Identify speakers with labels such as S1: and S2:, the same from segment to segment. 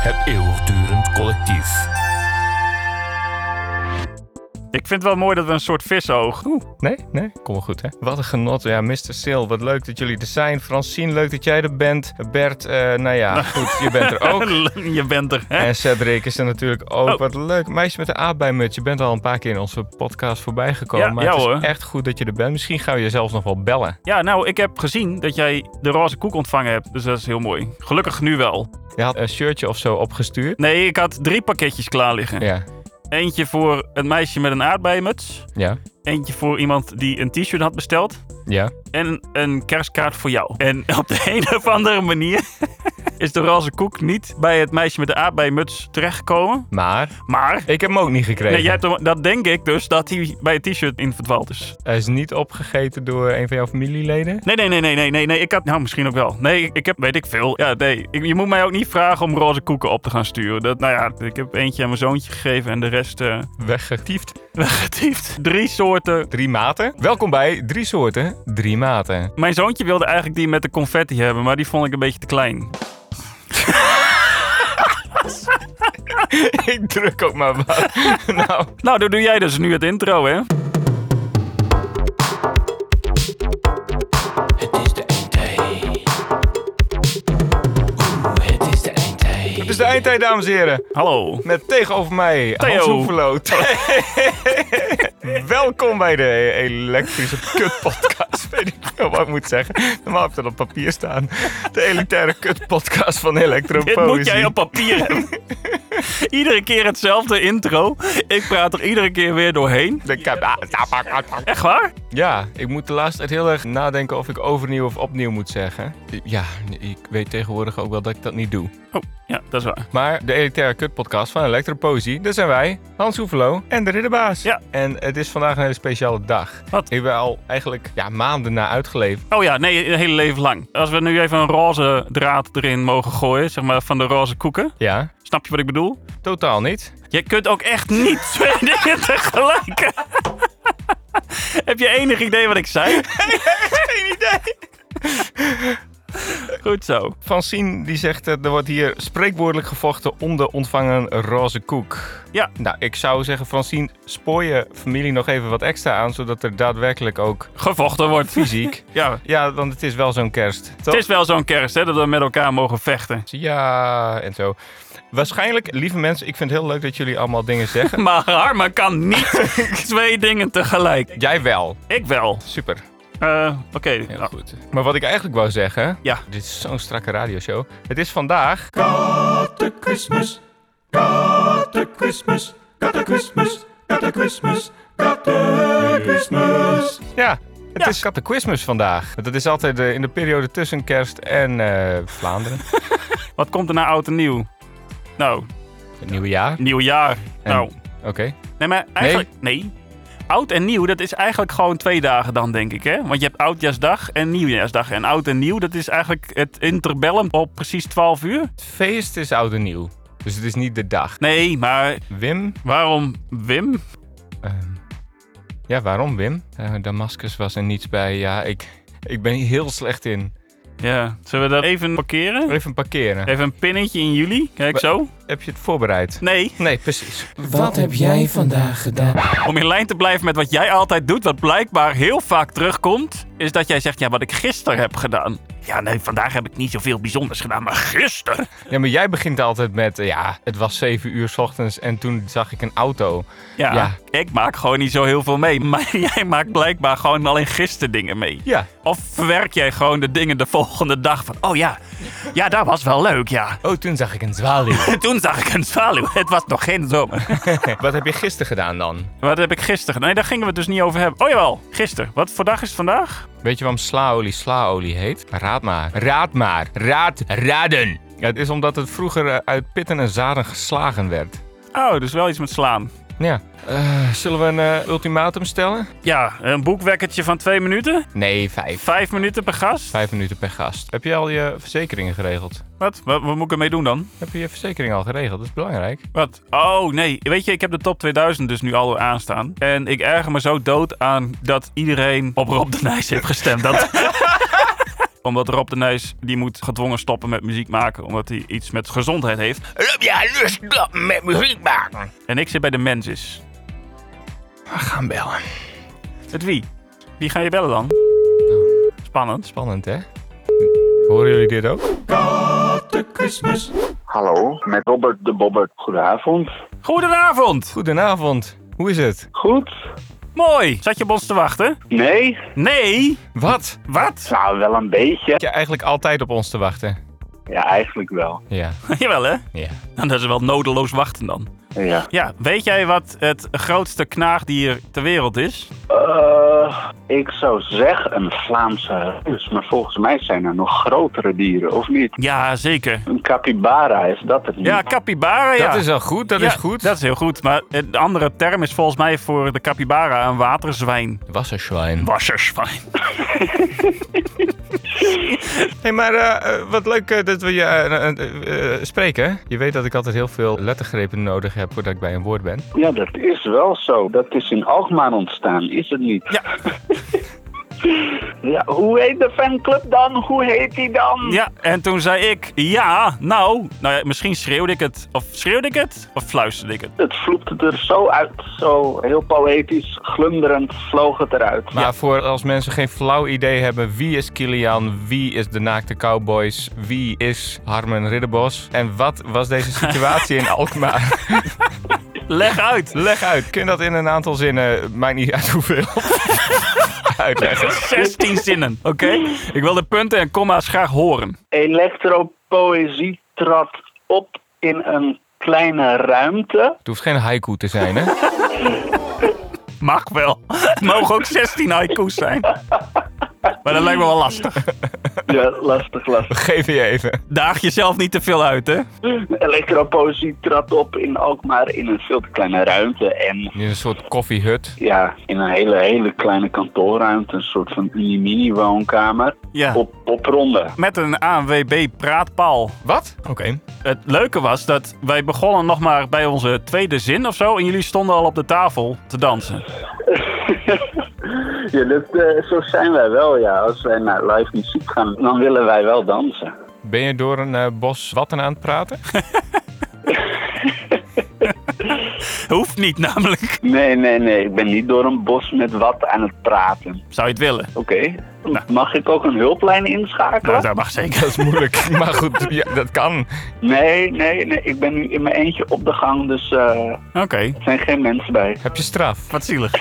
S1: Het eeuwigdurend collectief.
S2: Ik vind het wel mooi dat we een soort visoog.
S3: Oeh, nee, nee, kom wel goed hè. Wat een genot. Ja, Mr. Sil, wat leuk dat jullie er zijn. Francine, leuk dat jij er bent. Bert, eh, nou ja, goed, je bent er ook.
S2: Je bent er, hè?
S3: En Cedric is er natuurlijk ook.
S2: Oh.
S3: Wat leuk. Meisje met de aapbijmuts. Je bent al een paar keer in onze podcast voorbij gekomen.
S2: Ja,
S3: maar
S2: ja
S3: het is
S2: hoor.
S3: echt goed dat je er bent. Misschien gaan we je zelfs nog wel bellen.
S2: Ja, nou, ik heb gezien dat jij de roze koek ontvangen hebt. Dus dat is heel mooi. Gelukkig nu wel.
S3: Je had een shirtje of zo opgestuurd.
S2: Nee, ik had drie pakketjes klaar liggen.
S3: Ja,
S2: Eentje voor een meisje met een aardbeienmuts.
S3: ja,
S2: Eentje voor iemand die een t-shirt had besteld.
S3: ja.
S2: En een kerstkaart voor jou. En op de een of andere manier is de roze koek niet bij het meisje met de aardbeienmuts terechtgekomen.
S3: Maar
S2: Maar...
S3: ik heb hem ook niet gekregen.
S2: Nee, jij hebt hem- dat denk ik dus dat hij bij het t-shirt in verdwaald is.
S3: Hij is niet opgegeten door een van jouw familieleden.
S2: Nee, nee, nee, nee, nee, nee, nee. Ik had, nou, misschien ook wel. Nee, ik, ik heb, weet ik veel. Ja, nee. Ik- je moet mij ook niet vragen om roze koeken op te gaan sturen. Dat, nou ja, ik heb eentje aan mijn zoontje gegeven en de rest eh
S3: Weggetiefd.
S2: weggetiefd. Drie soorten.
S3: Drie maten. Welkom bij Drie Soorten, Drie Maten.
S2: Mijn zoontje wilde eigenlijk die met de confetti hebben, maar die vond ik een beetje te klein.
S3: ik druk ook maar wat. nou,
S2: Nou, dan doe jij dus nu het intro, hè?
S4: Het is de eindtijd. Oeh, het is de eindtijd.
S3: het is de eindtijd, dames en heren.
S2: Hallo.
S3: Met tegenover mij
S2: Theo.
S3: Hans Hoefelo. Welkom bij de elektrische kutpodcast. Weet ik veel wat ik moet zeggen. Normaal heb ik dat op papier staan. De elitaire kutpodcast van
S2: Dit
S3: Elektropoëzie.
S2: moet jij op papier hebben. iedere keer hetzelfde intro. Ik praat er iedere keer weer doorheen.
S3: De ka-
S2: Echt waar?
S3: Ja, ik moet de laatste tijd heel erg nadenken of ik overnieuw of opnieuw moet zeggen. Ja, ik weet tegenwoordig ook wel dat ik dat niet doe.
S2: Oh, ja, dat is waar.
S3: Maar de elitaire kutpodcast van Elektropoëzie, daar zijn wij, Hans Hoevelo en de Ridderbaas.
S2: Ja.
S3: En het is vandaag een hele speciale dag.
S2: Wat?
S3: Ik ben al eigenlijk ja, maanden na uitgeleefd.
S2: Oh ja, nee, het hele leven lang. Als we nu even een roze draad erin mogen gooien, zeg maar van de roze koeken.
S3: Ja,
S2: Snap je wat ik bedoel?
S3: totaal niet.
S2: Je kunt ook echt niet twee dingen tegelijk. Heb je enig idee wat ik zei?
S3: Geen idee.
S2: Goed zo.
S3: Francine die zegt, eh, er wordt hier spreekwoordelijk gevochten om de ontvangen roze koek.
S2: Ja.
S3: Nou, ik zou zeggen, Francine, spoor je familie nog even wat extra aan, zodat er daadwerkelijk ook
S2: Gevochten wordt.
S3: fysiek...
S2: Ja,
S3: Ja, want het is wel zo'n kerst, toch?
S2: het is wel zo'n kerst hè, dat we met elkaar mogen vechten.
S3: Ja, en zo. Waarschijnlijk, lieve mensen, ik vind het heel leuk dat jullie allemaal dingen zeggen.
S2: Maar Harma kan niet twee dingen tegelijk.
S3: Jij wel.
S2: Ik wel.
S3: Super.
S2: Eh, Oké.
S3: Heel
S2: Nou,
S3: goed. Ah, Maar wat ik eigenlijk wou zeggen.
S2: Ja.
S3: Dit is zo'n strakke radioshow. Het is vandaag.
S5: Christmas, got a Christmas, got a Christmas, got a Christmas, got a Christmas.
S3: Ja. Het
S2: Ja.
S3: is Catechismus vandaag. Dat is altijd eh, in de periode tussen kerst en eh, Vlaanderen.
S2: Wat komt er na oud en nieuw? Nou,
S3: Het nieuwe jaar.
S2: nieuw jaar.
S3: En-
S2: Nou.
S3: Oké.
S2: Nee, maar eigenlijk... Nee. Oud en nieuw, dat is eigenlijk gewoon twee dagen dan, denk ik, hè? Want je hebt Oudjaarsdag en Nieuwjaarsdag. En Oud en Nieuw, dat is eigenlijk het interbellum op precies 12 uur.
S3: Het feest is oud en nieuw. Dus het is niet de dag.
S2: Nee, maar
S3: Wim.
S2: waarom Wim?
S3: ehm, ja, waarom Wim? Eh Damascus was er niets bij. Ja, ik, ik ben hier heel slecht in.
S2: Ja, zullen we dat even parkeren?
S3: Even parkeren.
S2: Even een pinnetje in jullie. Kijk zo.
S3: Heb je het voorbereid?
S2: Nee,
S3: Nee, precies.
S4: Wat heb jij vandaag gedaan?
S2: om in lijn te blijven met wat jij altijd doet, wat blijkbaar heel vaak terugkomt, is dat jij zegt, ja, wat ik gisteren heb gedaan. Ja, nee, vandaag heb ik niet zoveel bijzonders gedaan, maar gisteren.
S3: Ja, maar jij begint altijd met, eh, ja, het was 7 uur 's ochtends en toen zag ik een auto.
S2: Ja,
S3: Ja.
S2: ik maak gewoon niet zo heel veel mee. Maar jij maakt blijkbaar gewoon alleen gisteren dingen mee.
S3: Ja.
S2: Of verwerk jij gewoon de dingen de volgende dag van... Oh ja, ja, dat was wel leuk, ja.
S3: Oh, toen zag ik een zwaluw.
S2: En toen zag ik een zwaluw. Het was nog geen zomer.
S3: Wat heb je gisteren gedaan dan?
S2: Wat heb ik gisteren... Nee, daar gingen we het dus niet over hebben. Oh jawel, gisteren. Wat voor dag is het vandaag?
S3: Weet je waarom slaolie slaolie heet? Raad maar. Raad maar. Raad. Raden. Ja, het is omdat het vroeger eh, uit pitten en zaden geslagen werd.
S2: Oh, dus wel iets met slaan.
S3: Ja. Eh, zullen we een eh, ultimatum stellen?
S2: Ja, een boekwekkertje van twee minuten.
S3: Nee, vijf.
S2: Vijf minuten per gast.
S3: Vijf minuten per gast. Heb je al je verzekeringen geregeld?
S2: Wat? Wat, wat moet ik ermee doen dan?
S3: Heb je je verzekering al geregeld? Dat is belangrijk.
S2: Wat? Oh nee, weet je, ik heb de top 2000 dus nu al aanstaan. En ik erger me zo dood aan dat iedereen op Rob de Nijs heeft gestemd. Dat... Omdat Rob de Nijs, die moet gedwongen stoppen met muziek maken. Omdat hij iets met gezondheid heeft.
S3: Heb jij lust met muziek maken?
S2: En ik zit bij de Mensis.
S3: We gaan bellen.
S2: Met wie? Wie ga je bellen dan? Spannend.
S3: Spannend, hè? Horen jullie dit ook?
S5: Christmas.
S6: Hallo, met Robert de Bobbert. Goedenavond.
S2: Goedenavond.
S3: Goedenavond. Hoe is het?
S6: Goed?
S2: Mooi. Zat je op ons te wachten?
S6: Nee?
S2: Nee.
S3: Wat?
S2: Wat?
S6: Nou, wel een beetje.
S3: Heb je eigenlijk altijd op ons te wachten?
S6: Ja, eigenlijk wel.
S3: Ja.
S2: Jawel hè?
S3: Ja.
S2: Nou, dat is wel nodeloos wachten dan.
S6: Ja.
S2: Ja, weet jij wat het grootste knaagdier ter wereld is?
S6: Eh, ik zou zeggen een Vlaamse reus, maar volgens mij zijn er nog grotere dieren, of niet?
S2: Ja, zeker.
S6: Een capybara, is dat het niet?
S2: Ja, capybara, ja.
S3: Dat is wel goed, dat
S2: Ja,
S3: is goed.
S2: Dat is heel goed. Maar een andere term is volgens mij voor de capybara een waterzwijn.
S3: Wasserschwein.
S2: Wasserzwijn.
S3: hey, maar eh, eh, wat leuk eh, dat we je eh, eh, eh, spreken. Je weet dat ik altijd heel veel lettergrepen nodig heb voordat ik bij een woord ben.
S6: Ja, dat is wel zo. Dat is in Alkmaar ontstaan, is het niet?
S2: Ja.
S6: ja, hoe heet de fanclub dan? Hoe heet die dan?
S2: Ja, en toen zei ik, ja, nou, nou ja, misschien schreeuwde ik het. Of schreeuwde ik het? Of fluisterde ik het?
S6: Het vloept het er zo uit, zo heel poëtisch, glunderend vloog het eruit.
S3: Maar voor als mensen geen flauw idee hebben wie is Kilian, wie is de naakte cowboys, wie is Harmen Ridderbos en wat was deze situatie in Alkmaar?
S2: Leg uit.
S3: Leg uit, kun je dat in een aantal zinnen, maakt niet uit hoeveel, uitleggen.
S2: 16 zinnen, oké? Ik wil de punten en comma's graag horen.
S6: Elektropoëzie trad op in een kleine ruimte.
S3: Het hoeft geen haiku te zijn, hè?
S2: Mag wel. Het mogen ook 16 haiku's zijn. Maar dat lijkt me wel lastig.
S6: Ja, lastig, lastig.
S3: Geef je even.
S2: Daag jezelf niet te veel uit, hè?
S6: Elektropoëzie trad op in Alkmaar in een veel te kleine ruimte. En
S3: In een soort koffiehut.
S6: ja, in een hele, hele kleine kantoorruimte. Een soort van mini woonkamer.
S2: Ja.
S6: Op, op ronde.
S2: Met een ANWB-praatpaal.
S3: Wat? Oké.
S2: Het leuke was dat wij begonnen nog maar bij onze tweede zin of zo. En jullie stonden al op de tafel te dansen.
S6: Ja, dat, eh, zo zijn wij wel, ja. Als wij naar live muziek gaan, dan willen wij wel dansen.
S3: Ben je door een eh, bos watten aan het praten?
S2: Hoeft niet namelijk.
S6: Nee, nee, nee. Ik ben niet door een bos met wat aan het praten.
S2: Zou je het willen?
S6: Oké. Mag ik ook een hulplijn inschakelen?
S2: Nou, dat mag zeker.
S3: Dat is moeilijk, maar goed, ja, dat kan.
S6: Nee, nee, nee. Ik ben nu in mijn eentje op de gang, dus eh,
S2: Oké,
S6: er zijn geen mensen bij.
S3: Heb je straf?
S2: wat zielig.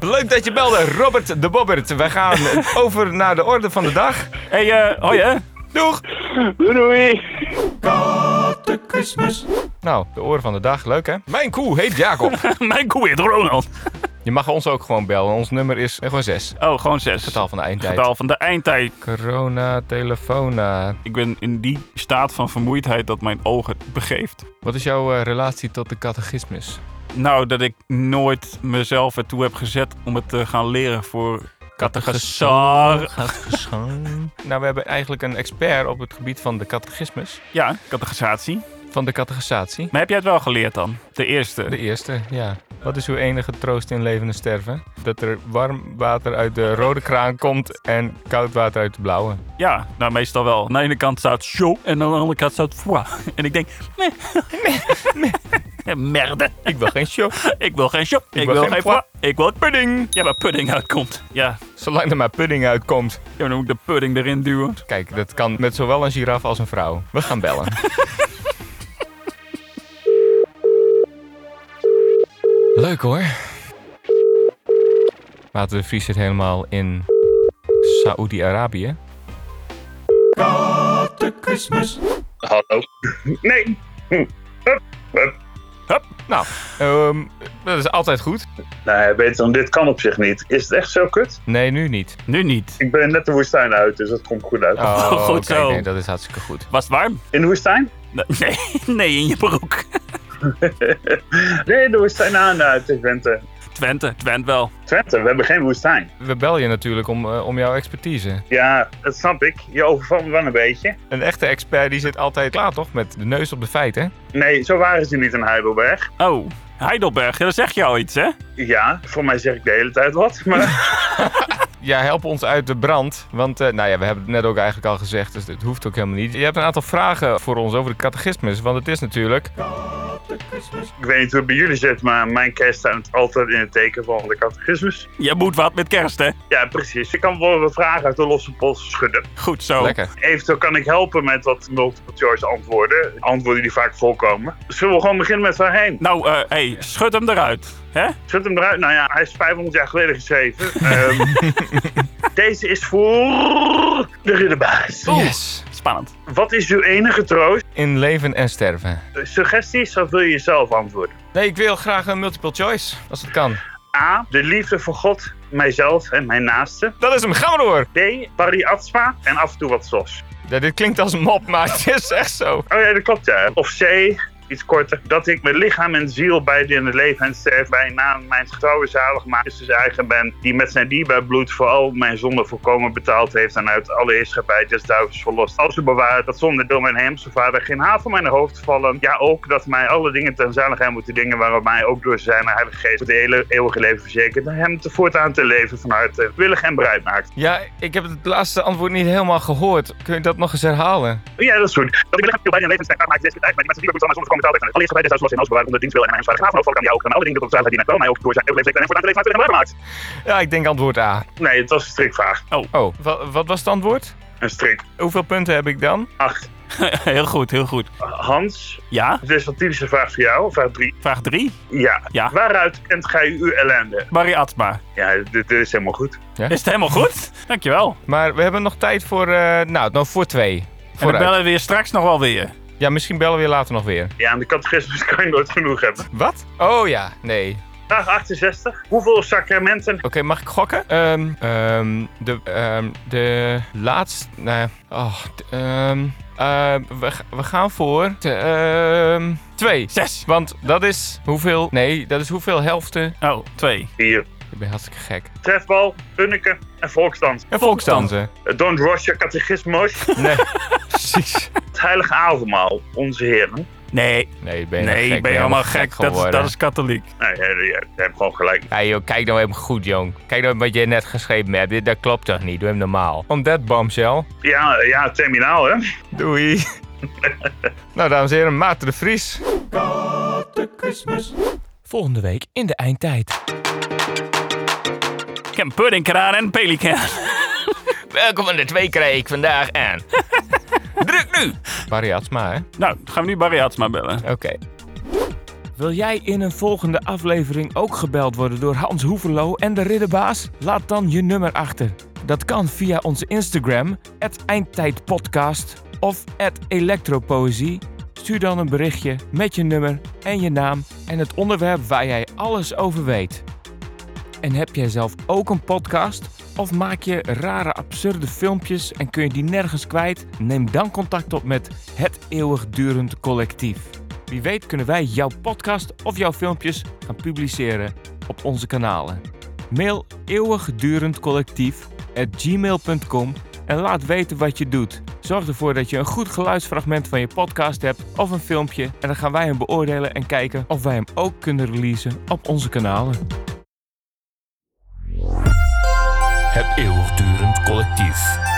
S3: Leuk dat je belde, Robert de Bobbert. Wij gaan over naar de orde van de dag.
S2: Hé, hey, eh, oh hoi hè?
S3: Doeg!
S6: Doei, doei.
S5: Christmas.
S3: Nou, de orde van de dag, leuk hè? Mijn koe heet Jacob.
S2: Mijn koe heet Ronald.
S3: Je mag ons ook gewoon bellen. Ons nummer is eh, gewoon 6.
S2: Oh, gewoon zes.
S3: Getal van de eindtijd.
S2: Getal van de eindtijd.
S3: Corona, telefona.
S2: Ik ben in die staat van vermoeidheid dat mijn ogen het begeeft.
S3: Wat is jouw eh, relatie tot de catechismus?
S2: Nou, dat ik nooit mezelf ertoe heb gezet om het te gaan leren voor catechisaar.
S3: Nou, we hebben eigenlijk een expert op het gebied van de catechismus.
S2: Ja, catechisatie.
S3: Van de catechisatie.
S2: Maar heb jij het wel geleerd dan? De eerste.
S3: De eerste, ja. Wat is uw enige troost in leven en sterven? Dat er warm water uit de rode kraan komt en koud water uit de blauwe.
S2: Ja, nou meestal wel. Aan de ene kant staat show en aan de andere kant staat foie. En ik denk, meh, meh, merde.
S3: Ik wil geen show.
S2: Ik wil geen show. Ik, wil, geen foie. Ik wil pudding. Ja, waar pudding uitkomt. Ja.
S3: Zolang er maar pudding uitkomt.
S2: ja, dan moet ik de pudding erin duwen.
S3: Kijk, dat kan met zowel een giraf als een vrouw. We gaan bellen. Leuk hoor. Laten de Vries zit helemaal in Saoedi-Arabië.
S5: Christmas.
S7: Hallo. Nee.
S3: Nou, ehm, dat is altijd goed.
S7: Nee, beter Nou, dan dit kan op zich niet. Is het echt zo kut?
S3: Nee, nu niet.
S2: Nu niet.
S7: Ik ben net de woestijn uit, dus dat komt goed uit.
S2: Goed
S3: oké,
S2: zo.
S3: Oh, nee, dat is hartstikke goed.
S2: Was het warm?
S7: In de woestijn?
S2: Nee, nee, in je broek.
S7: Nee, de woestijn aan. Nou, het is Twente.
S2: Twente, Twente wel.
S7: Twente, we hebben geen woestijn.
S3: We bellen je natuurlijk om, eh, om jouw expertise.
S7: Ja, dat snap ik. Je overvalt me wel een beetje.
S3: Een echte expert die zit altijd klaar, toch? Met de neus op de feiten.
S7: Nee, zo waren ze niet in Heidelberg.
S2: Oh, Heidelberg, ja, dat zeg je al iets, hè?
S7: Ja, voor mij zeg ik de hele tijd wat. Maar
S3: ja, help ons uit de brand. Want eh, nou ja, we hebben het net ook eigenlijk al gezegd, dus het hoeft ook helemaal niet. Je hebt een aantal vragen voor ons over de catechismus. Want het is natuurlijk
S7: Ik weet niet hoe het bij jullie zit, maar mijn kerst staat altijd in het teken van de catechismus.
S2: Je moet wat met kerst, hè?
S7: Ja, precies. Ik kan wel wat vragen uit de losse pols schudden.
S2: Goed zo.
S3: lekker.
S7: Eventueel kan ik helpen met wat multiple choice antwoorden. Antwoorden die vaak voorkomen. Zullen we gewoon beginnen met waarheen?
S2: Nou, eh hey, schud hem eruit. Hè?
S7: Schud hem eruit. Nou ja, hij is 500 jaar geleden geschreven. Ehm, deze is voor de ridderbaas.
S3: Yes.
S2: Spannend.
S7: Wat is uw enige troost?
S3: In leven en sterven.
S7: Suggesties of wil je zelf antwoorden?
S3: Nee, ik wil graag een multiple choice, als het kan.
S7: A. De liefde voor God, mijzelf en mijn naaste.
S3: Dat is hem, gaan we door.
S7: D. Pari Atsma en af en toe wat sos.
S3: Ja, dit klinkt als een mop, maar het is echt zo.
S7: Oh ja, dat klopt ja. Of C, iets korter. Dat ik mijn lichaam en ziel bij de in het leven en sterf bij na mijn getrouwe zalig maatjes eigen ben. Die met zijn dierbaar bloed voor al mijn zonden voorkomen betaald heeft. En uit alle heerschappij des duivels verlost. Als u bewaart dat zonder door mijn hemelse vader geen haat van mijn hoofd vallen. Ja ook dat mij alle dingen ten zaligheid moeten dingen waarop mij ook door zijn heilige geest het hele eeuwige leven verzekert. En hem te voortaan te leven van harte willig en bereid maakt.
S3: Ja, ik heb het laatste antwoord niet helemaal gehoord. Kun je dat nog eens herhalen?
S7: Ja, dat is goed. Dat ik lichaam heel bij een leven zijn maakt deze tijd, maar de mensen die ook zonder komen betaald zijn. Allereerst bij deze zoals in ons bewaren onder dienst willen en mijn zware graven ook aan jou ook aan alle dingen tot zaligheid die naar mij ook door zijn leven en voor het leven maakt en bereid maakt.
S3: Ja, ik denk antwoord A.
S7: Nee, het was een strikvraag.
S3: Oh, wa- wat was het antwoord?
S7: Een strik.
S3: Hoeveel punten heb ik dan?
S7: 8.
S2: heel goed, heel goed.
S7: Hans,
S2: Ja?
S7: dit is een typische vraag voor jou, vraag 3.
S2: Vraag 3.
S7: Ja.
S2: Ja.
S7: Waaruit kent gij uw ellende?
S2: Barry Atma.
S7: Ja, dit, dit is helemaal goed.
S2: Is het helemaal goed? Dankjewel.
S3: Maar we hebben nog tijd voor, eh, nou, nou, voor twee.
S2: En dan
S3: Vooruit.
S2: bellen we je straks nog wel weer.
S3: Ja, misschien bellen we weer later nog weer.
S7: Ja, en de catechismus kan je nooit genoeg hebben.
S3: Wat? Oh ja, nee. Oké,
S7: Vraag 68. Hoeveel sacramenten...
S3: mag ik gokken? Ehm, ehm, de, ehm, de laatste, nee. Oh, d- ehm, eh, we, g- we gaan voor, de, ehm, twee.
S2: Zes.
S3: Want dat is hoeveel, nee, dat is hoeveel helften.
S2: Oh, twee.
S7: Hier.
S3: Ik ben hartstikke gek.
S7: Trefbal, Punneke en volksdans.
S3: En volkstansen.
S7: Don't rush your catechismus.
S3: Nee, precies.
S7: Het heilige avondmaal, onze heren.
S2: Nee,
S3: Nee, ben je nou
S2: nee,
S3: gek,
S2: ik ben helemaal gek. Dat is,
S3: geworden.
S2: dat is katholiek.
S7: Nee, je, je hebt gewoon gelijk.
S3: Ja, joh, kijk nou even goed, jong. Kijk nou wat je net geschreven hebt. Dit, dat klopt toch niet? Doe hem normaal. On that bombshell.
S7: Ja, ja, terminaal, hè?
S3: Doei. nou, dames en heren, Maarten de Vries.
S4: Volgende week in de eindtijd.
S2: Ik heb een puddingkraan en een pelikaan.
S3: Welkom aan de twee kreeg ik vandaag aan. Druk nu! Bariatsma, hè?
S2: Nou, dan gaan we nu Barry Atsma bellen.
S3: Oké.
S4: Wil jij in een volgende aflevering ook gebeld worden door Hans Hoeverlo en de Ridderbaas? Laat dan je nummer achter. Dat kan via onze Instagram, eindtijdpodcast of elektropoëzie. Stuur dan een berichtje met je nummer en je naam en het onderwerp waar jij alles over weet. En heb jij zelf ook een podcast? Of maak je rare, absurde filmpjes en kun je die nergens kwijt? Neem dan contact op met het eeuwigdurend collectief. Wie weet kunnen wij jouw podcast of jouw filmpjes gaan publiceren op onze kanalen. Mail eeuwigdurendcollectief@gmail.com en laat weten wat je doet. Zorg ervoor dat je een goed geluidsfragment van je podcast hebt of een filmpje en dan gaan wij hem beoordelen en kijken of wij hem ook kunnen releasen op onze kanalen.
S1: Het eeuwigdurend collectief.